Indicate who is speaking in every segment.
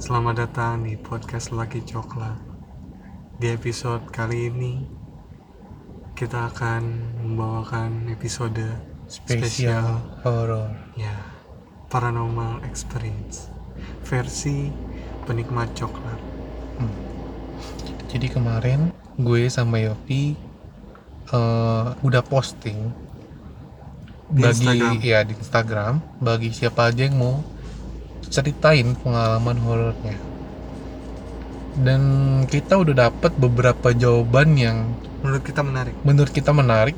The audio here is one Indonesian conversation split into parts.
Speaker 1: Selamat datang di podcast Laki Coklat. Di episode kali ini kita akan membawakan episode
Speaker 2: spesial
Speaker 1: spesial
Speaker 2: horor.
Speaker 1: ya Paranormal Experience versi penikmat coklat.
Speaker 2: Hmm. Jadi kemarin gue sama Yopi eh, udah posting
Speaker 1: Di
Speaker 2: bagi
Speaker 1: Instagram.
Speaker 2: ya di Instagram bagi siapa aja yang mau ceritain pengalaman horornya. Dan kita udah dapet beberapa jawaban yang
Speaker 1: Menurut kita menarik.
Speaker 2: menurut kita menarik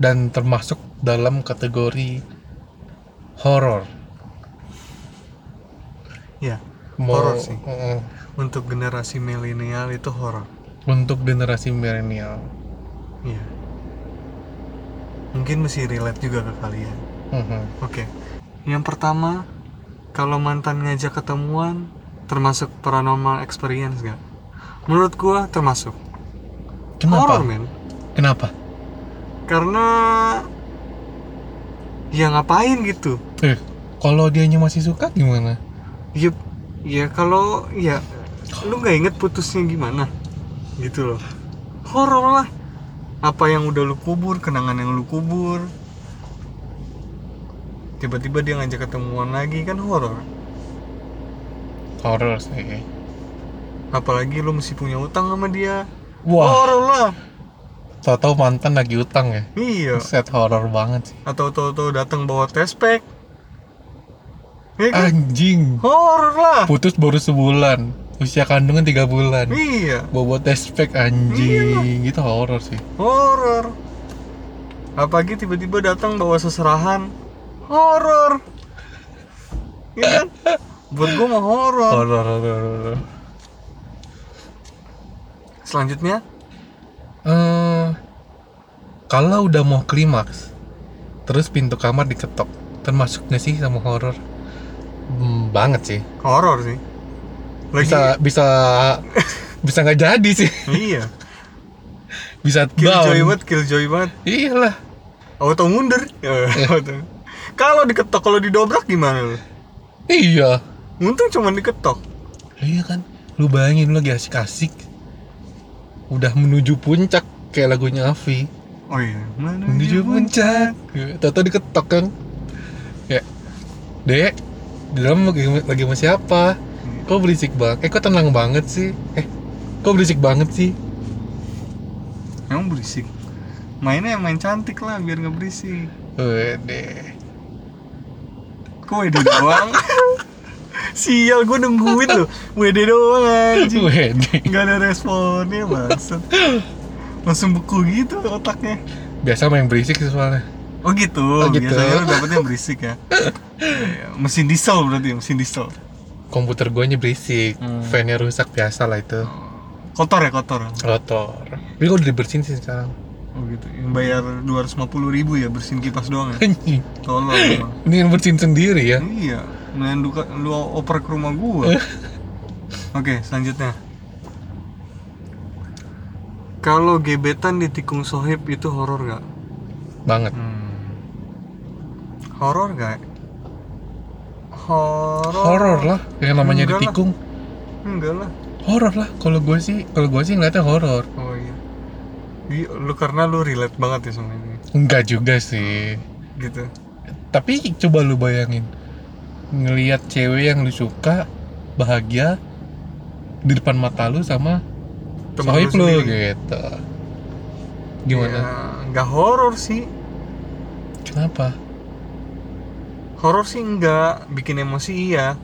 Speaker 2: dan termasuk dalam kategori horor.
Speaker 1: Ya,
Speaker 2: Mau-
Speaker 1: Horor sih.
Speaker 2: eh,
Speaker 1: untuk generasi milenial itu horor.
Speaker 2: untuk generasi milenial.
Speaker 1: Ya. Mungkin masih relate juga ke kalian.
Speaker 2: Mhm.
Speaker 1: Oke. Yang pertama, kalau mantan ngajak ketemuan termasuk paranormal experience gak? Menurut gua termasuk.
Speaker 2: Kenapa?
Speaker 1: Horor, men.
Speaker 2: Kenapa?
Speaker 1: Karena ya ngapain gitu.
Speaker 2: Eh, kalau dianya masih suka gimana?
Speaker 1: Ya ya kalau ya lu nggak inget putusnya gimana gitu loh horor lah apa yang udah lu kubur kenangan yang lu kubur tiba-tiba dia ngajak ketemuan lagi kan horor
Speaker 2: Horor sih.
Speaker 1: apalagi lu mesti punya utang sama dia
Speaker 2: Wah,
Speaker 1: horor Oh, lah
Speaker 2: tahu-tahu mantan lagi utang ya.
Speaker 1: iya
Speaker 2: Set horor banget sih.
Speaker 1: atau tahu-tahu datang bawa tespek Iya kan?
Speaker 2: Anjing.
Speaker 1: horor lah
Speaker 2: Putus baru sebulan. Usia kandungan tiga bulan.
Speaker 1: iya
Speaker 2: Bobo test pack anjing. Itu horor sih.
Speaker 1: horor apalagi tiba-tiba datang bawa seserahan horor Iya kan buat gua mah horor
Speaker 2: Horor, horor, horor.
Speaker 1: selanjutnya
Speaker 2: Eh, kalau udah mau klimaks, terus pintu kamar diketok. Termasuk nggak sih sama horor? Hmm, banget sih.
Speaker 1: horor sih lagi
Speaker 2: Bisa bisa bisa nggak jadi sih.
Speaker 1: iya
Speaker 2: Bisa
Speaker 1: killjoy
Speaker 2: down.
Speaker 1: banget killjoy banget
Speaker 2: Iyalah.
Speaker 1: auto mundur
Speaker 2: Iya.
Speaker 1: Eh, auto. kalau diketok kalau didobrak gimana lu
Speaker 2: Iya.
Speaker 1: untung cuma diketok
Speaker 2: Iya kan. Lu bayangin lu lagi asik-asik. Udah menuju puncak kayak lagunya Avi.
Speaker 1: oh iya mana
Speaker 2: Menuju puncak. Tahu diketok kan. Ya. Dek, di dalam lagi, lagi sama siapa? Kok berisik banget? Eh, kok tenang banget sih? Eh, kok berisik banget sih?
Speaker 1: emang berisik mainnya yang main cantik lah biar nggak berisik
Speaker 2: Wede.
Speaker 1: Wede doang Sial gue nungguin loh Wede doang anjing
Speaker 2: Wede.
Speaker 1: Gak ada responnya maksud Langsung beku gitu otaknya
Speaker 2: Biasa main berisik sih soalnya.
Speaker 1: Oh gitu,
Speaker 2: Oh gitu.
Speaker 1: biasanya lu dapetnya berisik ya Iya, Mesin diesel berarti ya, mesin diesel
Speaker 2: Komputer gue nya berisik,
Speaker 1: Hmm.
Speaker 2: fan-nya rusak biasa lah itu.
Speaker 1: Kotor ya kotor
Speaker 2: Kotor. Tapi gue udah dibersihin sih sekarang.
Speaker 1: Oh gitu, yang bayar 250 ribu ya bersihin kipas doang ya
Speaker 2: Anjing.
Speaker 1: Tolong emang
Speaker 2: Ini yang bersihin sendiri ya.
Speaker 1: Iya, mendingan lu, lu oper ke rumah gua. Oke, selanjutnya. Kalau gebetan ditikung sohib itu horor gak?
Speaker 2: Banget.
Speaker 1: Horor gak? Horor?
Speaker 2: Horor lah. Yang namanya
Speaker 1: Oh. Enggak lah.
Speaker 2: ditikung.
Speaker 1: Enggak lah.
Speaker 2: Horor lah. Kalau gue sih, kalau gue sih ngeliatnya horor.
Speaker 1: Oh iya. Di- Iya, Lu karena lu relate banget ya sama ini.
Speaker 2: Enggak juga sih.
Speaker 1: Gitu.
Speaker 2: Tapi coba lu bayangin ngelihat cewek yang lu suka bahagia di depan mata lu sama
Speaker 1: Temen
Speaker 2: sohib
Speaker 1: lu sendiri.
Speaker 2: lu gitu. Gimana?
Speaker 1: Ya, Enggak horor sih.
Speaker 2: Kenapa?
Speaker 1: Horor sih enggak, bikin emosi iya.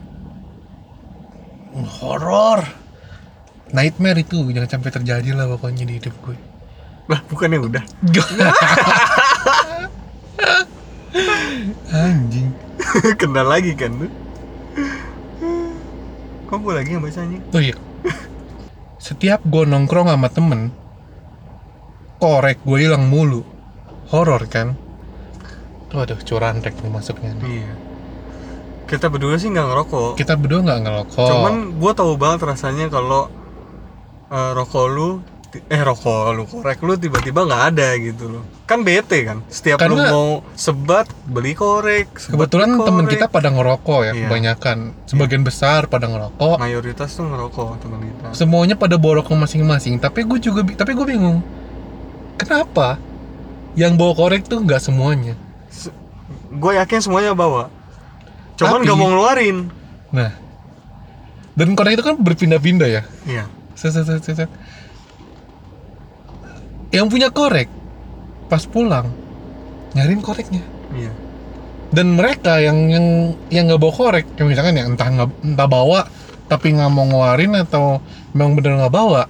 Speaker 2: Horor. Uh, Nightmare itu jangan sampai terjadi lah pokoknya di hidup gue.
Speaker 1: Lah, bukannya udah.
Speaker 2: Anjing.
Speaker 1: Kena lagi kan tuh Kok gue lagi yang bacanya?
Speaker 2: Oh iya. Setiap gue nongkrong sama temen, korek gue hilang mulu. Horor kan? Waduh, curan rek nih masuknya nih.
Speaker 1: Iya Kita berdua sih nggak ngerokok
Speaker 2: Kita berdua nggak ngelokok.
Speaker 1: Cuman gue tahu banget rasanya kalau eh, rokok lu ti- eh rokok lu korek lu tiba-tiba nggak ada gitu loh kan bete kan setiap lu
Speaker 2: Karena-
Speaker 1: mau sebat beli korek sebat
Speaker 2: Kebetulan
Speaker 1: beli
Speaker 2: teman
Speaker 1: korek.
Speaker 2: kita pada ngerokok ya,
Speaker 1: Iya.
Speaker 2: kebanyakan. Sebagian besar pada ngerokok.
Speaker 1: mayoritas tuh ngerokok teman kita
Speaker 2: Semuanya pada bawa rokok masing-masing. Tapi gue juga, bi- tapi gue bingung. Kenapa? Yang bawa korek tuh nggak semuanya.
Speaker 1: gue yakin semuanya bawa cuman
Speaker 2: Tapi-
Speaker 1: nggak mau ngeluarin
Speaker 2: Nah, dan korek itu kan berpindah-pindah ya.
Speaker 1: iya
Speaker 2: Set, set, set, set, set. Yang punya korek pas pulang nyariin koreknya.
Speaker 1: iya
Speaker 2: dan mereka yang yang yang nggak bawa korek yang misalkan ya entah nggak entah bawa tapi nggak mau ngeluarin atau memang bener nggak bawa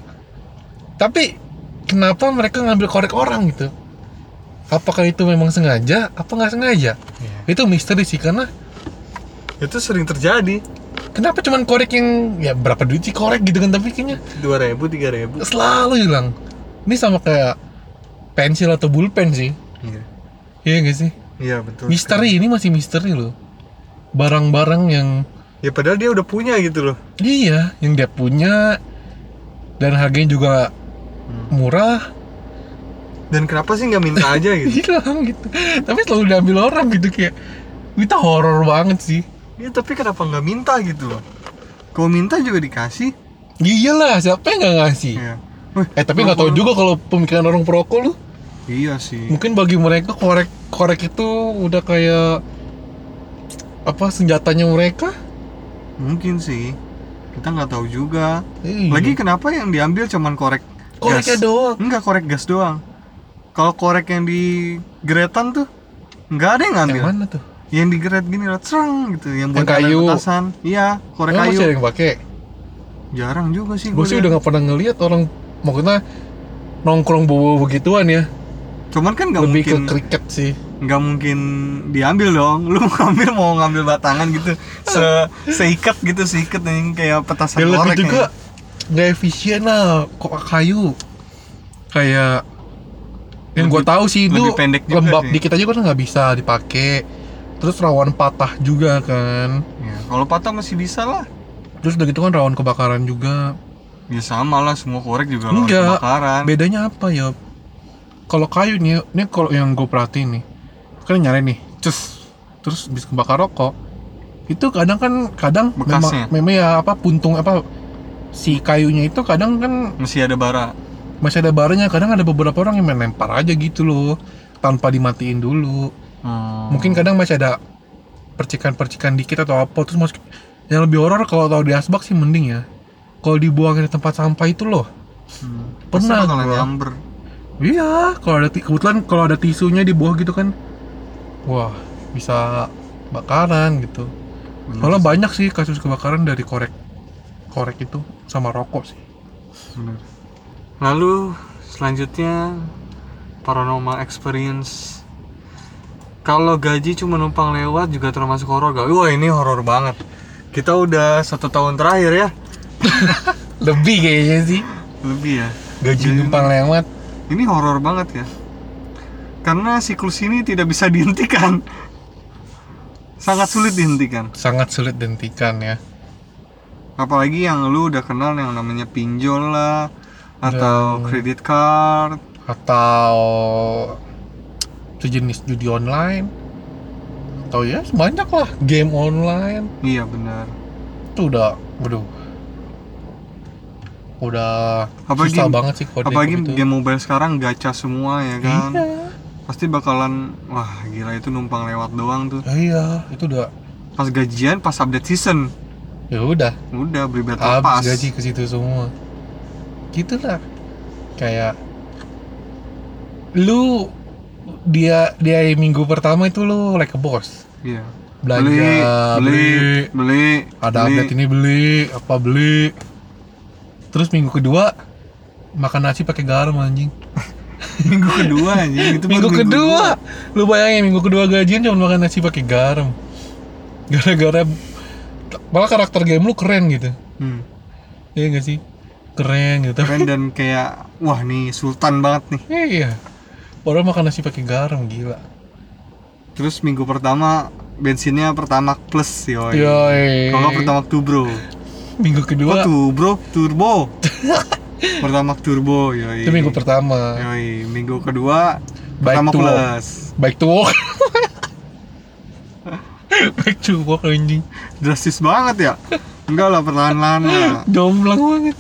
Speaker 2: tapi kenapa mereka ngambil korek orang gitu apakah itu memang sengaja apa nggak sengaja
Speaker 1: iya
Speaker 2: itu misteri sih karena
Speaker 1: itu sering terjadi
Speaker 2: kenapa cuman korek yang ya berapa duit sih korek gitu kan tapi kayaknya
Speaker 1: dua ribu tiga ribu
Speaker 2: selalu hilang ini sama kayak pensil atau bulpen sih
Speaker 1: iya
Speaker 2: iya nggak sih
Speaker 1: iya betul
Speaker 2: misteri ini masih misteri loh barang-barang yang
Speaker 1: sekali. ya padahal dia udah punya gitu loh
Speaker 2: Iya, yang dia punya dan harganya juga
Speaker 1: Hmm.
Speaker 2: murah
Speaker 1: dan kenapa sih nggak minta aja gitu
Speaker 2: hilang gitu. Tapi selalu diambil orang gitu kayak kita horor banget sih.
Speaker 1: ya tapi kenapa nggak minta gitu loh kalau minta juga dikasih
Speaker 2: Iyalah, siapa yang nggak ngasih?
Speaker 1: iya
Speaker 2: Eh tapi nggak tahu juga kalau pemikiran orang perokok lu.
Speaker 1: iya sih
Speaker 2: Mungkin bagi mereka korek korek itu udah kayak apa senjatanya mereka?
Speaker 1: mungkin sih kita nggak tahu juga
Speaker 2: Iya.
Speaker 1: lagi kenapa yang diambil cuman korek
Speaker 2: koreknya
Speaker 1: gas?
Speaker 2: Oh, doang.
Speaker 1: Enggak korek gas doang. Kalau korek yang di geretan tuh nggak ada yang ngambil.
Speaker 2: Yang mana tuh?
Speaker 1: Yang digeret gini loh, cereng gitu, yang buat
Speaker 2: Yang kayu.
Speaker 1: nyalain petasan. Iya, korek
Speaker 2: Emang
Speaker 1: kayu.
Speaker 2: masih ada yang pakai?
Speaker 1: Jarang juga sih.
Speaker 2: Gue
Speaker 1: gua
Speaker 2: sih
Speaker 1: lihat.
Speaker 2: udah nggak pernah ngeliat orang maksudnya nongkrong bawa begituan ya.
Speaker 1: Cuman kan nggak
Speaker 2: Lebih
Speaker 1: mungkin
Speaker 2: ke kriket sih.
Speaker 1: nggak mungkin diambil dong. Lu mau ngambil mau ngambil batangan gitu, se seikat gitu, seikat yang kayak petasan
Speaker 2: Dan lebih
Speaker 1: korek.
Speaker 2: juga
Speaker 1: ya?
Speaker 2: nggak efisien lah kok kayu kayak yang gue
Speaker 1: Lebih-
Speaker 2: tahu sih itu
Speaker 1: lebih pendek juga
Speaker 2: lembab
Speaker 1: sih.
Speaker 2: dikit aja kan nggak bisa dipakai terus rawan patah juga kan
Speaker 1: Ya, kalau patah masih bisa lah.
Speaker 2: terus udah gitu kan rawan kebakaran juga
Speaker 1: Ya sama lah, semua korek juga lawan
Speaker 2: Enggak.
Speaker 1: kebakaran.
Speaker 2: bedanya apa ya kalau kayu nih ini kalau yang gue perhatiin nih kan nyari nih cus terus habis kebakar rokok itu kadang kan kadang
Speaker 1: Bekasnya.
Speaker 2: memang, memang ya apa puntung apa si kayunya itu kadang kan
Speaker 1: Masih ada bara.
Speaker 2: masih ada baranya kadang ada beberapa orang yang main lempar aja gitu loh tanpa dimatiin dulu
Speaker 1: Hmm.
Speaker 2: mungkin kadang masih ada percikan-percikan dikit atau apa terus masuk yang lebih horor kalau tahu di asbak sih mending ya kalau dibuangin di tempat sampah itu loh
Speaker 1: Hmm. Pasti
Speaker 2: Pernah
Speaker 1: bakalan
Speaker 2: gua.
Speaker 1: nyamber.
Speaker 2: iya kalau ada ti- kebetulan kalau ada tisunya di bawah gitu kan wah bisa bakaran gitu
Speaker 1: Bener
Speaker 2: soalnya
Speaker 1: sih,
Speaker 2: banyak sih kasus kebakaran dari korek korek itu sama rokok sih
Speaker 1: bener. Lalu selanjutnya paranormal experience. Kalau gaji cuma numpang lewat juga termasuk horor gak? Wah ini horor banget. Kita udah satu tahun terakhir ya,
Speaker 2: lebih kayaknya sih
Speaker 1: lebih ya.
Speaker 2: gaji
Speaker 1: Jadi-
Speaker 2: numpang lewat
Speaker 1: Ini horor banget ya. Karena siklus ini tidak bisa dihentikan. Sangat sulit dihentikan.
Speaker 2: sangat sulit dihentikan ya
Speaker 1: Apalagi yang lu udah kenal yang namanya pinjol lah
Speaker 2: Iya.
Speaker 1: atau kredit card
Speaker 2: atau sejenis judi online atau ya banyak lah game online
Speaker 1: iya benar
Speaker 2: itu udah waduh udah
Speaker 1: Apalagi-
Speaker 2: susah banget sih kode
Speaker 1: apalagi
Speaker 2: itu
Speaker 1: game mobile sekarang gacha semua ya
Speaker 2: iya
Speaker 1: kan pasti bakalan wah gila itu numpang lewat doang tuh
Speaker 2: iya itu udah
Speaker 1: pas gajian pas update season
Speaker 2: ya udah
Speaker 1: udah beli battle pass
Speaker 2: habis gaji ke situ semua gitulah kayak lu dia dia minggu pertama itu lu like a boss
Speaker 1: iya
Speaker 2: belanja
Speaker 1: beli
Speaker 2: beli
Speaker 1: beli
Speaker 2: ada
Speaker 1: beli.
Speaker 2: update ini beli apa beli terus minggu kedua makan nasi pakai garam anjing
Speaker 1: minggu kedua anjing itu baru
Speaker 2: minggu, kedua lu bayangin minggu kedua gajian cuma makan nasi pakai garam gara-gara malah karakter game lu keren gitu
Speaker 1: kedua. Hmm,
Speaker 2: iya gak sih keren gitu
Speaker 1: keren dan kayak wah nih sultan banget nih
Speaker 2: iya orang makan nasi pakai garam gila
Speaker 1: terus minggu pertama bensinnya pertama plus yoi
Speaker 2: yoi
Speaker 1: kalau nggak pertama tuh bro
Speaker 2: minggu
Speaker 1: kok
Speaker 2: kedua
Speaker 1: tuh bro turbo pertama turbo yoi
Speaker 2: itu minggu pertama
Speaker 1: yoi minggu kedua Iya. pertama
Speaker 2: Baik tuh.
Speaker 1: plus
Speaker 2: baik to walk baik to walk anjing
Speaker 1: drastis banget ya enggak lah perlahan-lahan lah
Speaker 2: jomblang banget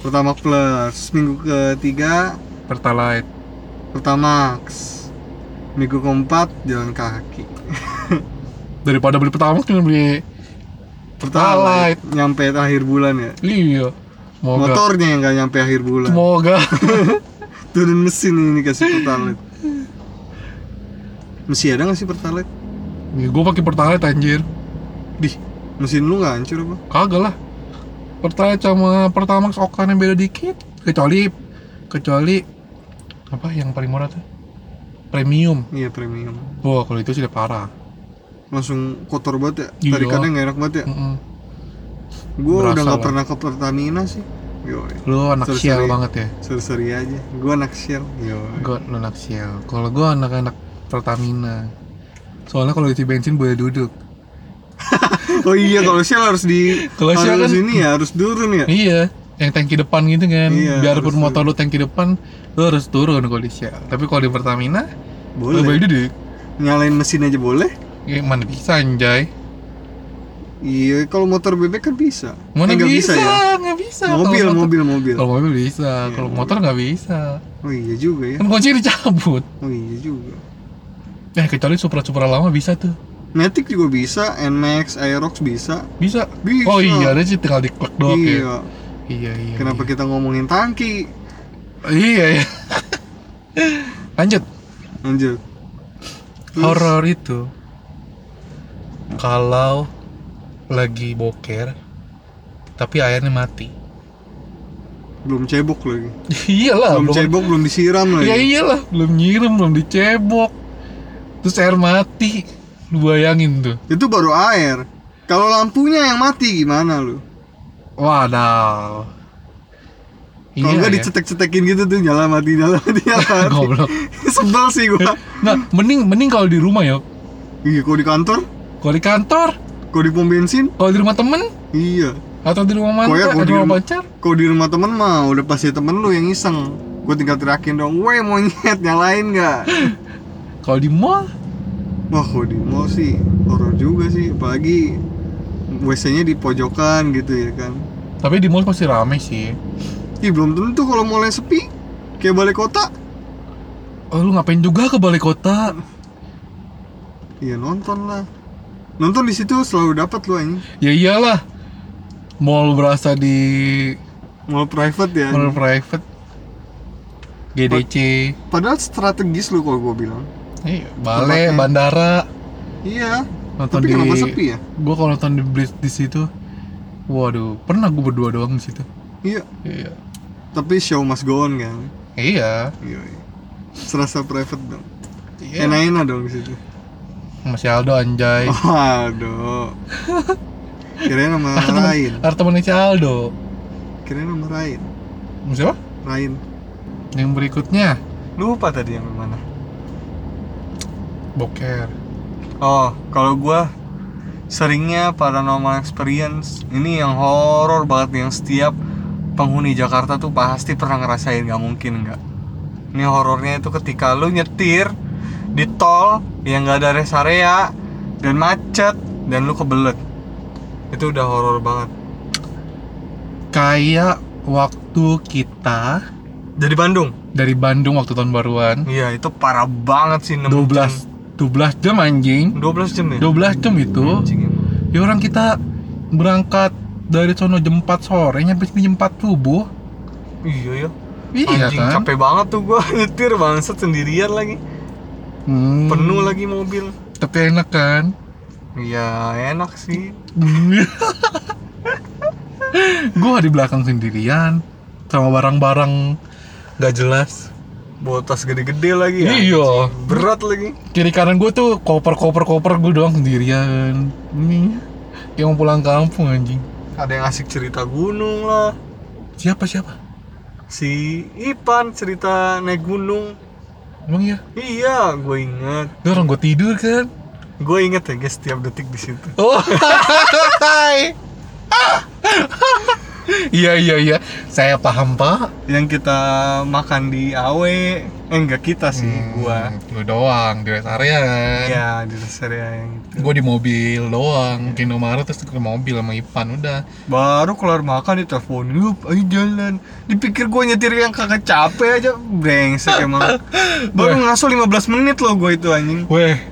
Speaker 1: pertama plus minggu ketiga
Speaker 2: pertalite
Speaker 1: pertamax minggu keempat jalan kaki
Speaker 2: daripada beli pertama cuma beli
Speaker 1: Pertalite
Speaker 2: Pertalite.
Speaker 1: nyampe akhir bulan ya
Speaker 2: iya moga
Speaker 1: motornya yang nggak nyampe akhir bulan
Speaker 2: moga
Speaker 1: turun mesin ini kasih pertalite masih ada nggak sih pertalite
Speaker 2: gue pakai pertalite anjir
Speaker 1: dih mesin lu nggak hancur apa
Speaker 2: kagak lah pertalite sama pertamax okan yang beda dikit kecuali kecuali apa yang paling murah tuh premium
Speaker 1: iya premium
Speaker 2: wah kalau itu sudah parah
Speaker 1: langsung kotor banget ya
Speaker 2: Iya.
Speaker 1: tarikannya nggak enak banget ya
Speaker 2: Mm-mm.
Speaker 1: gue
Speaker 2: Berasa
Speaker 1: udah nggak
Speaker 2: lah.
Speaker 1: pernah ke Pertamina sih yoi
Speaker 2: lu anak
Speaker 1: Sorry,
Speaker 2: sial
Speaker 1: sorry.
Speaker 2: banget ya
Speaker 1: seri-seri aja gue anak shell yoi
Speaker 2: gue lu anak sial kalau gue anak-anak Pertamina soalnya kalau isi bensin boleh duduk
Speaker 1: oh iya kalau shell harus di
Speaker 2: Kalau Shell
Speaker 1: harus
Speaker 2: kan-
Speaker 1: ini ya harus turun ya
Speaker 2: iya yang tangki depan gitu kan
Speaker 1: Iya,
Speaker 2: biarpun
Speaker 1: harus
Speaker 2: motor lu tangki depan lu harus turun kalau di sial tapi kalau di Pertamina lu boleh
Speaker 1: boleh
Speaker 2: duduk
Speaker 1: nyalain mesin aja boleh
Speaker 2: ya, mana bisa anjay
Speaker 1: Iya, kalau motor bebek kan bisa. Eh,
Speaker 2: mana
Speaker 1: nggak
Speaker 2: bisa
Speaker 1: ya?
Speaker 2: nggak bisa Iya, Kalau
Speaker 1: Mobil,
Speaker 2: motor- Oh.
Speaker 1: mobil, mobil.
Speaker 2: Kalau mobil bisa,
Speaker 1: Iya,
Speaker 2: kalau
Speaker 1: mobil.
Speaker 2: motor nggak bisa.
Speaker 1: Oh iya juga ya.
Speaker 2: Kan kunci dicabut.
Speaker 1: Oh iya juga.
Speaker 2: Eh kecuali Supra Supra lama bisa tuh.
Speaker 1: Matic juga bisa, NMAX, Aerox bisa.
Speaker 2: Bisa.
Speaker 1: Bisa.
Speaker 2: Oh iya, ada sih tinggal diklek doang ya.
Speaker 1: iya.
Speaker 2: Iya, iya.
Speaker 1: Kenapa kita ngomongin tangki?
Speaker 2: Iya, iya. Lanjut.
Speaker 1: Lanjut. Terus,
Speaker 2: Horor itu kalau lagi boker tapi airnya mati.
Speaker 1: Belum cebok lagi. belum
Speaker 2: iyalah, Ah, belum.
Speaker 1: cebok, belum disiram lagi.
Speaker 2: Ya iyalah, belum nyiram, belum dicebok. Terus air mati. Lu bayangin tuh.
Speaker 1: Itu baru air. Kalau lampunya yang mati gimana lu?
Speaker 2: Waduh. Iya
Speaker 1: Kalau nggak
Speaker 2: ya.
Speaker 1: dicetek-cetekin gitu tuh nyala mati, nyala mati, nyala mati.
Speaker 2: Goblok.
Speaker 1: Sebel sih gua.
Speaker 2: Nah, mending mending kalau di rumah ya.
Speaker 1: Iya, kalau di kantor,
Speaker 2: Kalau di kantor,
Speaker 1: kalau di pom bensin,
Speaker 2: kalau di rumah temen,
Speaker 1: iya.
Speaker 2: atau di
Speaker 1: Pokoknya
Speaker 2: rumah
Speaker 1: kalau
Speaker 2: mantan, atau di
Speaker 1: di
Speaker 2: rumah
Speaker 1: rumah-
Speaker 2: pacar.
Speaker 1: Kalau di rumah temen mah udah pasti temen lu yang iseng Gue tinggal teriakin dong, weh monyet nyalain gak?
Speaker 2: Kalau di mall,
Speaker 1: Wah kalau di mall sih horor juga sih Apalagi WC-nya di pojokan gitu ya kan
Speaker 2: tapi di mall pasti rame sih.
Speaker 1: Ih belum tentu kalau mallnya sepi Kayak balik kota
Speaker 2: Oh, lu ngapain juga ke balai kota?
Speaker 1: Iya nonton lah Nonton di situ selalu dapat lu anjing
Speaker 2: Ya iyalah. Mall berasa di
Speaker 1: Mall private ya
Speaker 2: mall private. GDC,
Speaker 1: Padahal strategis lu kalau gue bilang
Speaker 2: iya, balai,
Speaker 1: Tempatnya.
Speaker 2: bandara.
Speaker 1: Iya
Speaker 2: Nonton
Speaker 1: Tapi
Speaker 2: di
Speaker 1: kenapa sepi ya?
Speaker 2: Gua kalau nonton di Blitz di situ. Waduh, pernah gua berdua doang di situ.
Speaker 1: Iya
Speaker 2: Iya.
Speaker 1: Tapi show must go on kan
Speaker 2: Iya.
Speaker 1: Iya iya. Serasa private dong
Speaker 2: Iya.
Speaker 1: Enak-enak dong di situ
Speaker 2: Masih Aldo anjay.
Speaker 1: Oh. Waduh. Kirain nama
Speaker 2: Ada temen-
Speaker 1: Rain.
Speaker 2: ada temennya si Aldo.
Speaker 1: Kirain nama Rain.
Speaker 2: Siapa?
Speaker 1: Rain.
Speaker 2: Yang berikutnya
Speaker 1: Lupa tadi yang mana.
Speaker 2: boker.
Speaker 1: Oh, kalau gua seringnya paranormal experience ini yang horor banget nih, yang setiap penghuni Jakarta tuh pasti pernah ngerasain nggak mungkin nggak ini horornya itu ketika lu nyetir di tol yang nggak ada rest area dan macet dan lu kebelet itu udah horor banget
Speaker 2: Kayak waktu kita
Speaker 1: dari Bandung
Speaker 2: dari Bandung waktu tahun baruan
Speaker 1: iya itu parah banget sih
Speaker 2: 12
Speaker 1: enam jam.
Speaker 2: 12 jam anjing.
Speaker 1: 12 jam ya?
Speaker 2: 12 jam itu
Speaker 1: Anjing emang.
Speaker 2: ya orang kita berangkat dari sono jam 4 sore nyampe sini jam 4 subuh.
Speaker 1: Iya ya.
Speaker 2: Iya
Speaker 1: Anjing
Speaker 2: kan?
Speaker 1: capek banget tuh gua nyetir bangsat sendirian lagi.
Speaker 2: Hmm,
Speaker 1: Penuh lagi mobil.
Speaker 2: Tapi enak kan?
Speaker 1: Iya, enak sih.
Speaker 2: gua di belakang sendirian sama barang-barang gak jelas.
Speaker 1: Bawa tas gede-gede lagi ya.
Speaker 2: Iya.
Speaker 1: Berat lagi.
Speaker 2: kiri kanan gue tuh koper koper koper gue doang sendirian ini yang mau pulang kampung anjing
Speaker 1: Ada yang asik cerita gunung lah.
Speaker 2: siapa siapa
Speaker 1: Si Ipan cerita naik gunung.
Speaker 2: emang ya
Speaker 1: Iya, gue inget.
Speaker 2: dia orang gue tidur kan Oh,
Speaker 1: Gue inget ya guys setiap detik di situ.
Speaker 2: oh iya iya iya saya paham pak
Speaker 1: yang kita makan di AW eh enggak kita sih
Speaker 2: Hmm,
Speaker 1: gua
Speaker 2: lu doang di rest area kan
Speaker 1: ya di rest area yang itu
Speaker 2: gue di mobil doang ke Indomaret terus ke mobil sama Ipan udah
Speaker 1: baru keluar makan diteleponin lu ayo jalan dipikir gua nyetir yang kagak capek aja brengsek emang baru ngasuh 15 menit loh gua itu anjing
Speaker 2: weh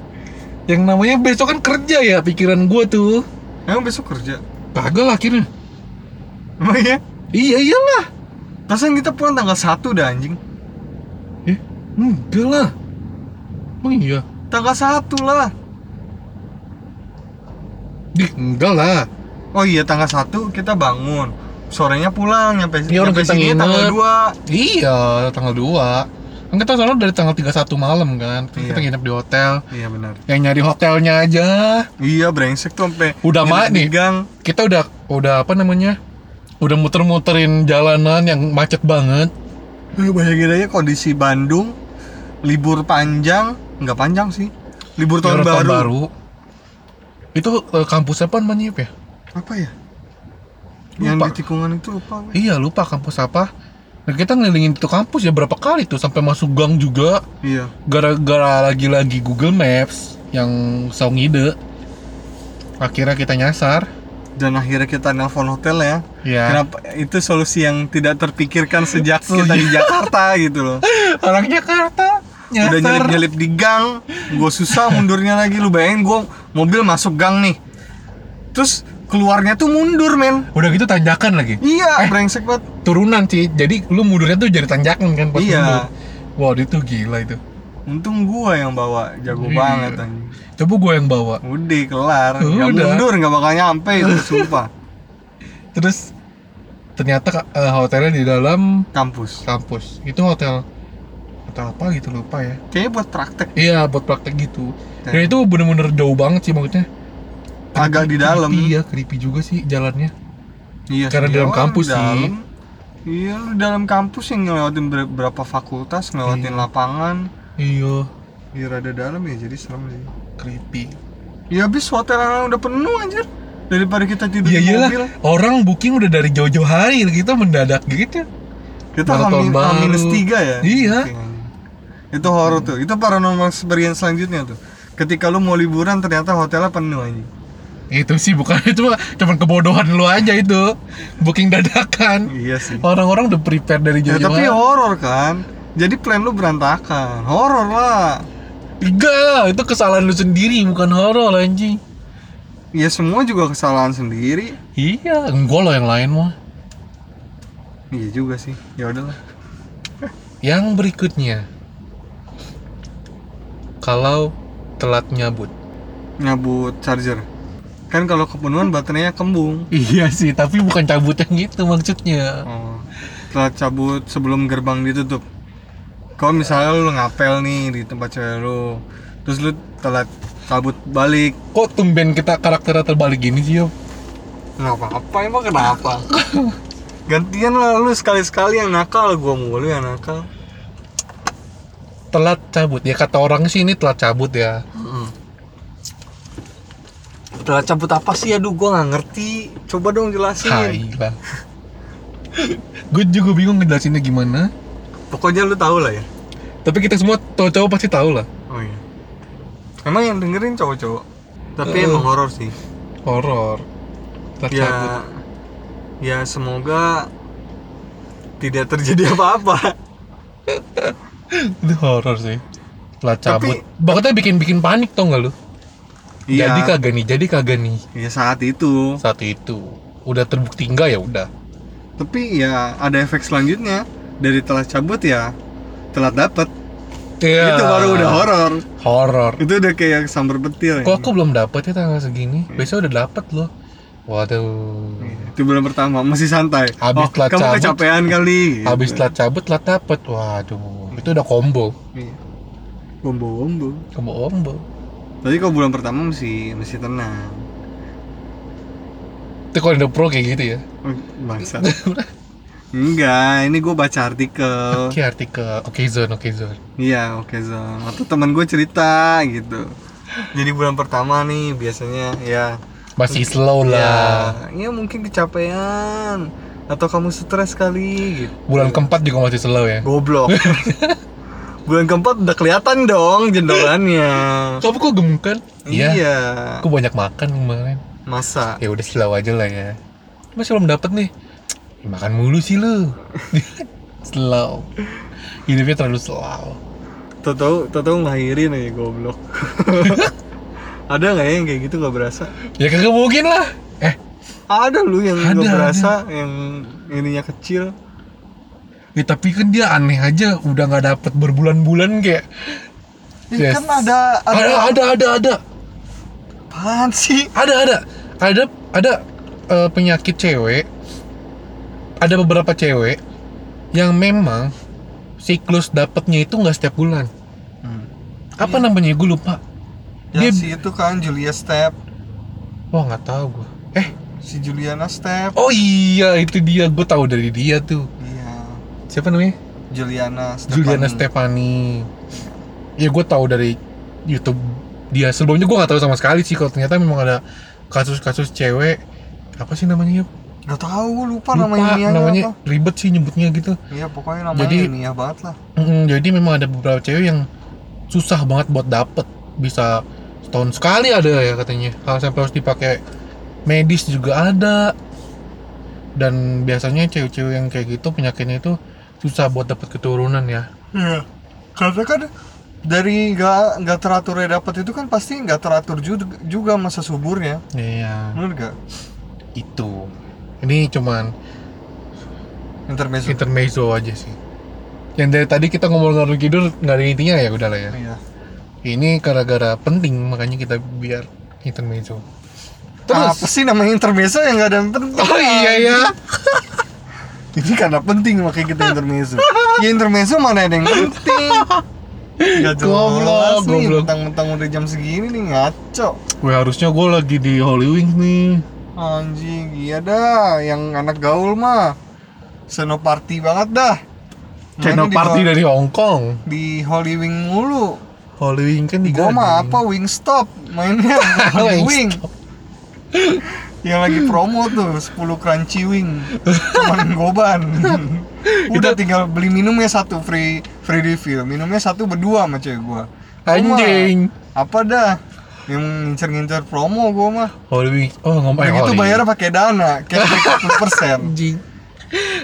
Speaker 2: yang namanya besok kan kerja ya pikiran gue tuh
Speaker 1: emang besok kerja
Speaker 2: kagak lah akhirnya
Speaker 1: emang ya
Speaker 2: iya iyalah
Speaker 1: perasaan kita pulang tanggal 1 dah anjing
Speaker 2: eh enggak lah emang iya
Speaker 1: tanggal 1 lah
Speaker 2: Dih, enggak lah
Speaker 1: oh iya tanggal 1 kita bangun sorenya pulang nyampe,
Speaker 2: Iya, orang
Speaker 1: nyampe
Speaker 2: kita
Speaker 1: sini
Speaker 2: nginep.
Speaker 1: tanggal 2
Speaker 2: Iya, tanggal 2 Kan kita soalnya dari tanggal 31 malam kan Terus Kita
Speaker 1: Iya.
Speaker 2: nginep di hotel
Speaker 1: Iya benar.
Speaker 2: Yang nyari hotelnya aja
Speaker 1: Iya brengsek tuh sampai
Speaker 2: Udah
Speaker 1: nginep
Speaker 2: mati.
Speaker 1: di gang.
Speaker 2: Kita udah, udah apa namanya Udah muter-muterin jalanan yang macet banget
Speaker 1: Lu Eh, Bayangin aja kondisi Bandung libur panjang, nggak panjang sih. Libur tahun,
Speaker 2: Jalan
Speaker 1: baru.
Speaker 2: Itu eh, kampus apa namanya Yip, ya?
Speaker 1: Apa ya?
Speaker 2: Lupa.
Speaker 1: Yang di tikungan itu lupa. gue.
Speaker 2: Iya lupa kampus apa Nah, kita ngelilingin itu kampus ya berapa kali tuh sampai masuk gang juga
Speaker 1: Iya.
Speaker 2: gara-gara lagi-lagi Google Maps yang saung ide akhirnya kita nyasar
Speaker 1: Dan akhirnya kita nelpon hotel ya.
Speaker 2: ya Oh,
Speaker 1: Kenapa itu solusi yang tidak terpikirkan sejak kita di
Speaker 2: iya.
Speaker 1: Jakarta gitu loh.
Speaker 2: orang Jakarta nyasar
Speaker 1: Udah nyelip-nyelip di gang, gue susah mundurnya lagi. Lu bayangin gue mobil masuk gang nih. Terus keluarnya tuh mundur, men.
Speaker 2: udah gitu tanjakan lagi
Speaker 1: Iya,
Speaker 2: Eh.
Speaker 1: brengsek banget.
Speaker 2: turunan sih jadi lu mundurnya tuh jadi tanjakan kan pas
Speaker 1: Iya.
Speaker 2: mundur wow itu gila itu
Speaker 1: Untung gua yang bawa, jago
Speaker 2: Iya.
Speaker 1: banget anjing.
Speaker 2: coba gue yang bawa
Speaker 1: Udah kelar, nggak
Speaker 2: Udah.
Speaker 1: mundur nggak bakal nyampe itu sumpah.
Speaker 2: terus ternyata eh, hotelnya di dalam
Speaker 1: Kampus.
Speaker 2: kampus itu hotel hotel apa gitu lupa ya
Speaker 1: Kayaknya buat praktek
Speaker 2: iya buat praktek gitu
Speaker 1: Oke.
Speaker 2: dan itu bener-bener jauh banget sih maksudnya
Speaker 1: Nah. agak di dalam.
Speaker 2: iya creepy juga sih jalannya
Speaker 1: Iya.
Speaker 2: Karena
Speaker 1: sih.
Speaker 2: dalam
Speaker 1: Oh,
Speaker 2: kampus
Speaker 1: di
Speaker 2: sih.
Speaker 1: dalam. Iya, lu dalam kampus yang ngelewatin ber- berapa fakultas, ngelewatin
Speaker 2: Iya.
Speaker 1: lapangan.
Speaker 2: iya
Speaker 1: Iya, rada dalam ya, jadi serem sih.
Speaker 2: creepy
Speaker 1: Ya habis hotel yang udah penuh anjir. Daripada kita tidur
Speaker 2: iya
Speaker 1: di
Speaker 2: iyalah
Speaker 1: mobil,
Speaker 2: orang booking udah dari jauh-jauh hari gitu mendadak gitu
Speaker 1: kita
Speaker 2: Malah
Speaker 1: hamil
Speaker 2: tahun baru.
Speaker 1: minus tiga ya.
Speaker 2: Iya.
Speaker 1: Kayaknya. Itu horor tuh. Itu paranormal experience selanjutnya tuh. Ketika lu mau liburan ternyata hotelnya penuh anjing.
Speaker 2: itu sih bukan itu mah cuman kebodohan lu aja itu booking dadakan
Speaker 1: Iya sih.
Speaker 2: orang-orang udah prepare dari
Speaker 1: Ya,
Speaker 2: Oh, jauh-jauh
Speaker 1: tapi
Speaker 2: hari.
Speaker 1: horor kan. Jadi plan lu berantakan. Horor lah.
Speaker 2: enggak lah, itu kesalahan lu sendiri bukan horor anjing
Speaker 1: Ya semua juga kesalahan sendiri.
Speaker 2: iya enggak lah yang lain mah
Speaker 1: Iya juga sih. Ya udahlah.
Speaker 2: yang berikutnya kalau telat nyabut
Speaker 1: Nyabut charger. Kan kalau kepenuhan baterainya kembung.
Speaker 2: iya sih tapi bukan cabut yang gitu maksudnya
Speaker 1: Oh. Setelah cabut sebelum gerbang ditutup. Kalau misalnya lu ngapel nih di tempat cewek lu, terus lu telat cabut balik.
Speaker 2: kok tumben kita karakternya terbalik gini sih Yop?
Speaker 1: Kenapa? Apa emang kenapa? Gantian lah lu sekali-sekali yang nakal, gua mulu yang nakal.
Speaker 2: telat cabut ya kata orang sih ini telat cabut ya
Speaker 1: Telat cabut apa sih? Aduh, gua nggak ngerti. Coba dong jelasin.
Speaker 2: Hai lah gue juga bingung ngejelasinnya gimana
Speaker 1: Pokoknya lu tahu lah ya.
Speaker 2: tapi kita semua cowok-cowok pasti tahu lah
Speaker 1: Oh iya. Emang yang dengerin cowok-cowok. Tapi
Speaker 2: Eh.
Speaker 1: emang horor sih.
Speaker 2: horor telat
Speaker 1: Ya,
Speaker 2: cabut
Speaker 1: ya semoga tidak terjadi apa-apa.
Speaker 2: itu horor sih telat cabut
Speaker 1: Tapi-
Speaker 2: Bahkan bikin-bikin panik tau nggak lu jadi
Speaker 1: Iya.
Speaker 2: kan- kagak nih jadi kagak nih
Speaker 1: Ya saat itu.
Speaker 2: saat itu udah terbukti enggak ya udah
Speaker 1: Tapi ya ada efek selanjutnya dari telat cabut ya telat dapet.
Speaker 2: Ya.
Speaker 1: Itu baru udah horor.
Speaker 2: horor
Speaker 1: Itu udah kayak sambar petir.
Speaker 2: kok
Speaker 1: ya.
Speaker 2: aku belum dapet ya tanggal segini
Speaker 1: Iya.
Speaker 2: besok udah dapet loh waduh
Speaker 1: Itu bulan pertama masih santai. oh,
Speaker 2: Habis telat
Speaker 1: kamu
Speaker 2: cabut.
Speaker 1: kecapean kali. gitu.
Speaker 2: habis telat cabut telat dapet waduh itu udah combo
Speaker 1: Iya. Bombo-bombo.
Speaker 2: combo combo
Speaker 1: Tapi kalau bulan pertama masih masih tenang.
Speaker 2: itu kalau udah pro kayak gitu ya
Speaker 1: Oh, Bangsa. Enggak, ini gue baca artikel.
Speaker 2: oke artikel oke zone oke zone
Speaker 1: Iya, oke Zon. Atau teman gue cerita gitu. Jadi bulan pertama nih biasanya ya
Speaker 2: masih slow
Speaker 1: ya,
Speaker 2: lah
Speaker 1: ya mungkin kecapean atau kamu stres kali gitu.
Speaker 2: Bulan keempat juga masih slow
Speaker 1: Iya.
Speaker 2: ya.
Speaker 1: Goblok. Bulan keempat udah kelihatan dong jendolannya.
Speaker 2: Kamu kok gemukan?
Speaker 1: Iya.
Speaker 2: Aku banyak makan kemarin.
Speaker 1: Masa?
Speaker 2: Ya udah slow aja lah ya. Masih belum dapet nih. Ya, makan mulu sih lu. slow. Hidupnya terlalu slow.
Speaker 1: Tahu-tahu tahu ngelahirin aja goblok. Ada nggak ya yang kayak gitu nggak berasa?
Speaker 2: Ya kagak mungkin lah. Eh,
Speaker 1: Ada lu yang
Speaker 2: Ada,
Speaker 1: nggak
Speaker 2: ada.
Speaker 1: berasa yang ininya kecil.
Speaker 2: ya tapi kan dia aneh aja. Udah nggak dapet berbulan-bulan kayak.
Speaker 1: Ya,
Speaker 2: Yes.
Speaker 1: Kan ada ada,
Speaker 2: Ada, ada, ada, ada.
Speaker 1: apaan sih?
Speaker 2: ada ada ada ada eh, penyakit cewek ada beberapa cewek yang memang siklus dapatnya itu nggak setiap bulan apa namanya gue lupa
Speaker 1: Ya
Speaker 2: Hmm. Dia-
Speaker 1: si itu kan Julia Step,
Speaker 2: wah nggak tahu gue eh
Speaker 1: si Juliana Step.
Speaker 2: oh iya itu dia gue tahu dari dia tuh
Speaker 1: Iya.
Speaker 2: siapa namanya
Speaker 1: Juliana Stepani.
Speaker 2: Juliana Stefani ya gue tahu dari YouTube dia sebelumnya gue nggak tahu sama sekali sih kalau ternyata memang ada kasus-kasus cewek apa sih namanya Yup?
Speaker 1: Gak tau, gue lupa,
Speaker 2: lupa
Speaker 1: namanya ini
Speaker 2: namanya
Speaker 1: apa
Speaker 2: ribet sih nyebutnya gitu
Speaker 1: Iya pokoknya namanya
Speaker 2: Jadi-
Speaker 1: ini ya banget lah
Speaker 2: Mm, jadi memang ada beberapa cewek yang susah banget buat dapet bisa setahun sekali ada ya katanya hal sampai harus dipakai medis juga ada dan biasanya cewek-cewek yang kayak gitu penyakitnya itu susah buat dapet keturunan ya
Speaker 1: Iya Karena kan dari gak, nggak teraturnya dapat itu kan pasti gak teratur juga, juga masa suburnya
Speaker 2: iya
Speaker 1: Bener gak?
Speaker 2: itu ini cuman
Speaker 1: Intermezzo
Speaker 2: intermezzo aja sih yang dari tadi kita ngomong ngalur kidul nggak ada intinya ya udah lah ya
Speaker 1: Iya
Speaker 2: ini gara-gara penting makanya kita biar intermezzo
Speaker 1: Apa sih namanya intermezzo yang gak ada yang penting
Speaker 2: oh iya ya
Speaker 1: Ini karena penting makanya kita intermezzo Ya intermezzo mana ada yang penting Gak jelas
Speaker 2: Goblok,
Speaker 1: nih,
Speaker 2: goblok.
Speaker 1: mentang-mentang udah jam segini nih ngaco
Speaker 2: Gue harusnya gue lagi di Holy Wings nih.
Speaker 1: Anjing, iya dah, yang anak gaul mah senoparty banget dah. Mainnya
Speaker 2: Channel
Speaker 1: di
Speaker 2: party
Speaker 1: Hol-
Speaker 2: dari Hong Kong.
Speaker 1: di Holy Wing mulu.
Speaker 2: Holy Wings kan di
Speaker 1: Gua mah
Speaker 2: Gading.
Speaker 1: apa Wingstop mainnya Holy Wing. yang lagi promo tuh 10 crunchy wing cuman goban udah tinggal beli minumnya satu free free refill minumnya satu berdua sama cewek gua Gua mah,
Speaker 2: Anjing.
Speaker 1: apa dah yang ngincer-ngincer promo gua mah
Speaker 2: Holy Wings. Oh ngomong eh,
Speaker 1: begitu
Speaker 2: Holy
Speaker 1: bayar pakai dana cashback 40%
Speaker 2: Anjing.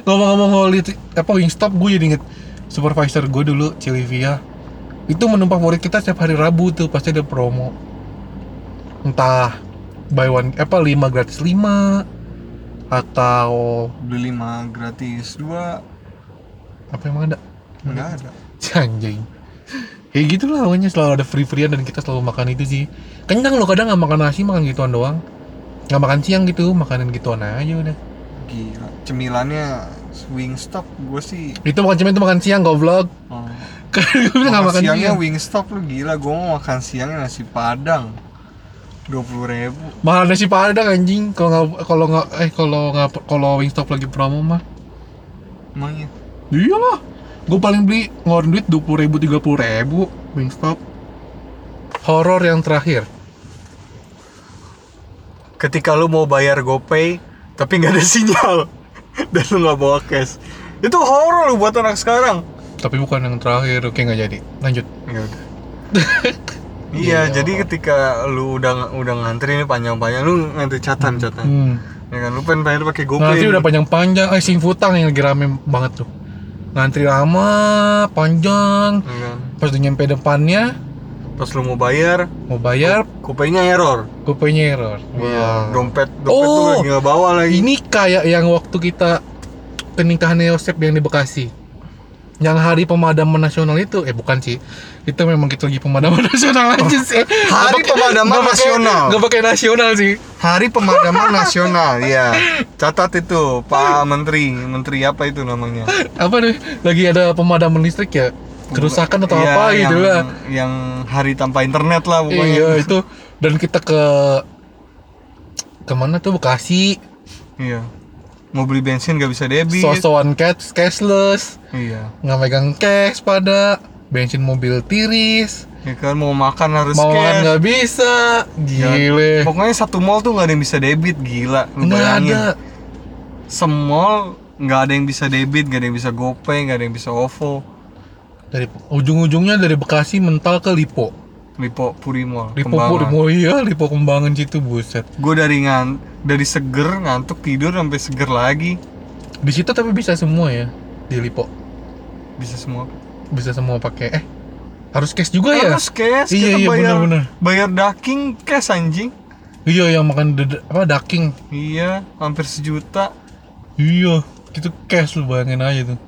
Speaker 2: Ngomong-ngomong Holy apa Wingstop gue jadi inget supervisor gue dulu Cilivia itu menu favorit kita setiap hari Rabu tuh pasti ada promo entah buy one apa 5 gratis 5 atau
Speaker 1: beli lima gratis dua
Speaker 2: apa emang ada
Speaker 1: nggak ada
Speaker 2: Si anjing ya gitu lah pokoknya selalu ada free-freean dan kita selalu makan itu sih kenyang lo kadang nggak makan nasi makan gituan doang nggak makan siang gitu makanan gituan aja udah
Speaker 1: gila cemilannya Wingstop gue sih
Speaker 2: itu makan cuma itu makan siang goblok
Speaker 1: oh,
Speaker 2: kan gue bilang nggak
Speaker 1: makan
Speaker 2: makan
Speaker 1: siangnya
Speaker 2: siang
Speaker 1: Wingstop lu gila gue mau makan siangnya nasi padang dua puluh ribu
Speaker 2: mahal nasi padang anjing kalau nggak kalau nggak eh kalau nggak kalau Wingstop lagi promo mah
Speaker 1: emangnya
Speaker 2: iyalah gue paling beli ngeluarin duit dua puluh ribu tiga puluh ribu Wingstop horor yang terakhir
Speaker 1: ketika lu mau bayar GoPay tapi nggak ada sinyal dan lu nggak bawa cash itu horor lu buat anak sekarang
Speaker 2: tapi bukan yang terakhir oke nggak jadi lanjut
Speaker 1: iya
Speaker 2: Iya.
Speaker 1: jadi ketika lu udah udah ngantri nih panjang-panjang lu ngantri catan catan
Speaker 2: hmm.
Speaker 1: ya kan lu pengen bayar pakai GoPay
Speaker 2: Ngantri
Speaker 1: nih.
Speaker 2: udah panjang-panjang, eh sing futang yang lagi rame banget tuh Ngantri lama, panjang
Speaker 1: Ya kan?
Speaker 2: Pas udah nyampe depannya,
Speaker 1: pas lu mau bayar
Speaker 2: mau bayar,
Speaker 1: GoPay-nya error
Speaker 2: gopay error
Speaker 1: Iya,
Speaker 2: Wah.
Speaker 1: dompet dompet tuh
Speaker 2: Oh.
Speaker 1: lagi nggak bawa lagi.
Speaker 2: Ini kayak yang waktu kita ke nikahannya Yosep yang di Bekasi yang hari pemadaman nasional itu eh bukan sih itu memang kita lagi pemadaman nasional aja sih
Speaker 1: Hari pemadaman nasional.
Speaker 2: gak pakai nasional sih
Speaker 1: Hari pemadaman nasional, ya. Catat itu, Pak Menteri, Menteri apa itu namanya?
Speaker 2: apa nih lagi ada pemadaman listrik ya kerusakan atau
Speaker 1: Iya,
Speaker 2: apa gitu
Speaker 1: yang-
Speaker 2: lah
Speaker 1: Yang hari tanpa internet lah pokoknya.
Speaker 2: Iya itu dan kita ke kemana tuh Bekasi
Speaker 1: Iya. Mau beli bensin nggak bisa debit.
Speaker 2: sosokan cash cashless
Speaker 1: Iya.
Speaker 2: nggak megang cash pada bensin mobil tiris
Speaker 1: Ya kan mau makan harus
Speaker 2: mau makan
Speaker 1: cash.
Speaker 2: nggak bisa
Speaker 1: Ya,
Speaker 2: gile
Speaker 1: Pokoknya satu mall tuh nggak ada yang bisa debit, gila. Lu
Speaker 2: nggak
Speaker 1: bayangin.
Speaker 2: ada
Speaker 1: semall nggak ada yang bisa debit nggak ada yang bisa gopay nggak ada yang bisa ovo
Speaker 2: dari ujung-ujungnya dari Bekasi mental ke Lipo
Speaker 1: lipo puri mall
Speaker 2: Lipo Purmo iya Lipo Kembangan situ buset
Speaker 1: gue dari ngan dari seger ngantuk tidur sampai seger lagi
Speaker 2: di situ tapi bisa semua ya di Lipo
Speaker 1: bisa semua
Speaker 2: bisa semua pakai eh harus cash juga ya
Speaker 1: terus cash
Speaker 2: Iya,
Speaker 1: kita
Speaker 2: iya,
Speaker 1: bayar
Speaker 2: benar-benar.
Speaker 1: bayar daking cash anjing
Speaker 2: iya yang makan ded- apa daking
Speaker 1: iya hampir sejuta
Speaker 2: iya itu cash lu bayangin aja tuh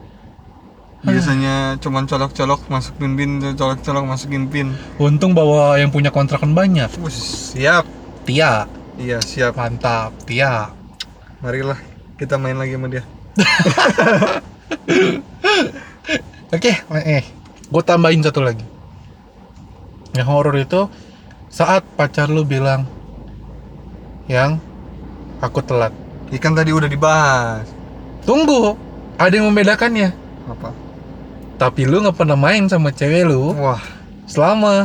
Speaker 2: Iya.
Speaker 1: biasanya cuman colok-colok masukin pin colok-colok masukin pin
Speaker 2: untung bahwa yang punya kontrakan banyak
Speaker 1: Wus, siap
Speaker 2: Tia
Speaker 1: iya siap
Speaker 2: mantap Tia
Speaker 1: marilah kita main lagi sama dia
Speaker 2: Oke, eh, gue tambahin satu lagi. Yang horor itu saat pacar lu bilang yang aku telat.
Speaker 1: ikan tadi udah dibahas
Speaker 2: Tunggu, ada yang membedakannya.
Speaker 1: apa
Speaker 2: Tapi lu nggak pernah main sama cewek lu
Speaker 1: wah
Speaker 2: selama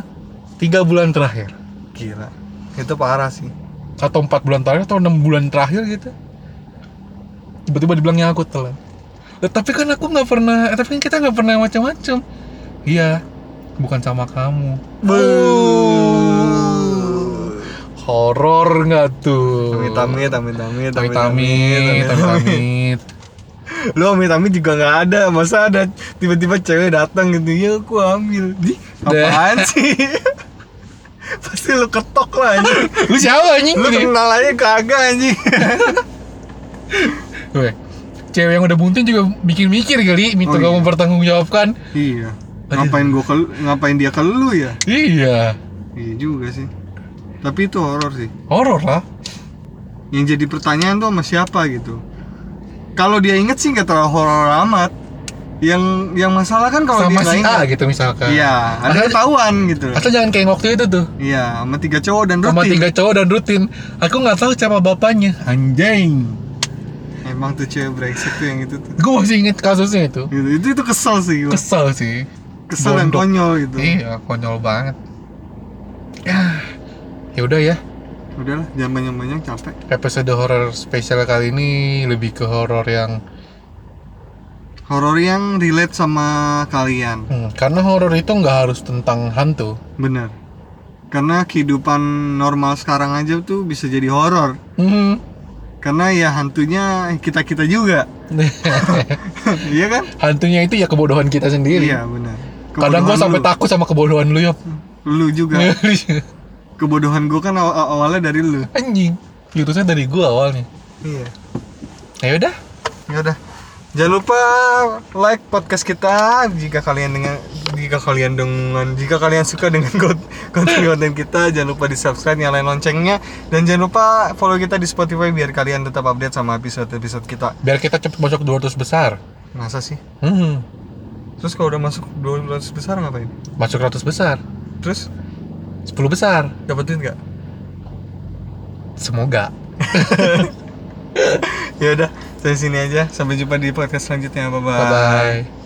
Speaker 2: tiga bulan terakhir
Speaker 1: gila itu parah sih
Speaker 2: atau empat bulan terakhir atau enam bulan terakhir gitu. Tiba-tiba dibilangnya aku telat. Lah, tapi kan aku nggak pernah, eh, tapi kan kita nggak pernah macam-macam. Iya, bukan sama kamu.
Speaker 1: Buuuuh.
Speaker 2: horor nggak tuh
Speaker 1: Amit amit amit amit
Speaker 2: amit amit amit amit
Speaker 1: Lu amit amit juga nggak ada Masa ada tiba-tiba cewek datang gitu Ya aku hamil Di
Speaker 2: Deh.
Speaker 1: apaan sih Pasti lu ketok lah anjing
Speaker 2: lu siapa anjing Gitu.
Speaker 1: Lu
Speaker 2: Gini.
Speaker 1: kenal aja kagak anjing
Speaker 2: Weh, cewek yang udah bunting juga bikin mikir kali
Speaker 1: Oh,
Speaker 2: minta
Speaker 1: iya.
Speaker 2: kamu bertanggungjawabkan
Speaker 1: Iya Ngapain gua ke, ngapain dia ke lu ya
Speaker 2: iya
Speaker 1: Iya juga sih Tapi itu horor sih
Speaker 2: horor lah
Speaker 1: yang jadi pertanyaan tuh sama siapa gitu kalau dia inget sih nggak terlalu horor amat yang yang masalah kan kalau dia
Speaker 2: sama
Speaker 1: nggak
Speaker 2: si
Speaker 1: inget
Speaker 2: A gitu misalkan
Speaker 1: iya ada
Speaker 2: Asal-
Speaker 1: ketahuan gitu
Speaker 2: asal jangan kayak yang waktu itu tuh
Speaker 1: iya sama tiga cowok dan
Speaker 2: sama
Speaker 1: rutin
Speaker 2: tiga cowok dan rutin aku nggak tahu siapa bapaknya anjing
Speaker 1: emang tuh cewek brengsek tuh yang itu tuh
Speaker 2: gue masih inget kasusnya itu
Speaker 1: Gitu, itu itu kesel sih gua.
Speaker 2: kesel sih
Speaker 1: kesel dan
Speaker 2: bondok.
Speaker 1: konyol gitu
Speaker 2: iya konyol banget ya ya udah ya
Speaker 1: udahlah jangan banyak banyak capek
Speaker 2: episode horor spesial kali ini lebih ke horor yang
Speaker 1: horor yang relate sama kalian
Speaker 2: Hmm, karena horor itu nggak harus tentang hantu.
Speaker 1: bener karena kehidupan normal sekarang aja tuh bisa jadi horor
Speaker 2: Hmm.
Speaker 1: karena ya hantunya kita kita juga iya kan
Speaker 2: Hantunya itu ya kebodohan kita sendiri.
Speaker 1: Iya benar.
Speaker 2: Kadang
Speaker 1: Kebodohan
Speaker 2: gua sampai Iya.
Speaker 1: lu. Iya.
Speaker 2: takut sama kebodohan lu ya.
Speaker 1: lu juga. Kebodohan gua kan aw- awalnya dari lu.
Speaker 2: Anjing. Jurusnya dari gua awalnya.
Speaker 1: Iya.
Speaker 2: Ya udah.
Speaker 1: Ya udah. Jangan lupa like podcast kita jika kalian dengan jika kalian dengan jika kalian suka dengan kon- konten-konten kita jangan lupa di subscribe nyalain loncengnya dan jangan lupa follow kita di Spotify biar kalian tetap update sama episode-episode kita
Speaker 2: Biar kita cepet masuk 200 besar.
Speaker 1: masa sih
Speaker 2: Hmm.
Speaker 1: terus kalau udah masuk 200 besar ngapain
Speaker 2: Masuk 100 besar.
Speaker 1: terus
Speaker 2: 10 besar.
Speaker 1: dapat duit nggak
Speaker 2: Semoga.
Speaker 1: ya udah saya sini aja sampai jumpa di podcast selanjutnya bye
Speaker 2: Bye bye.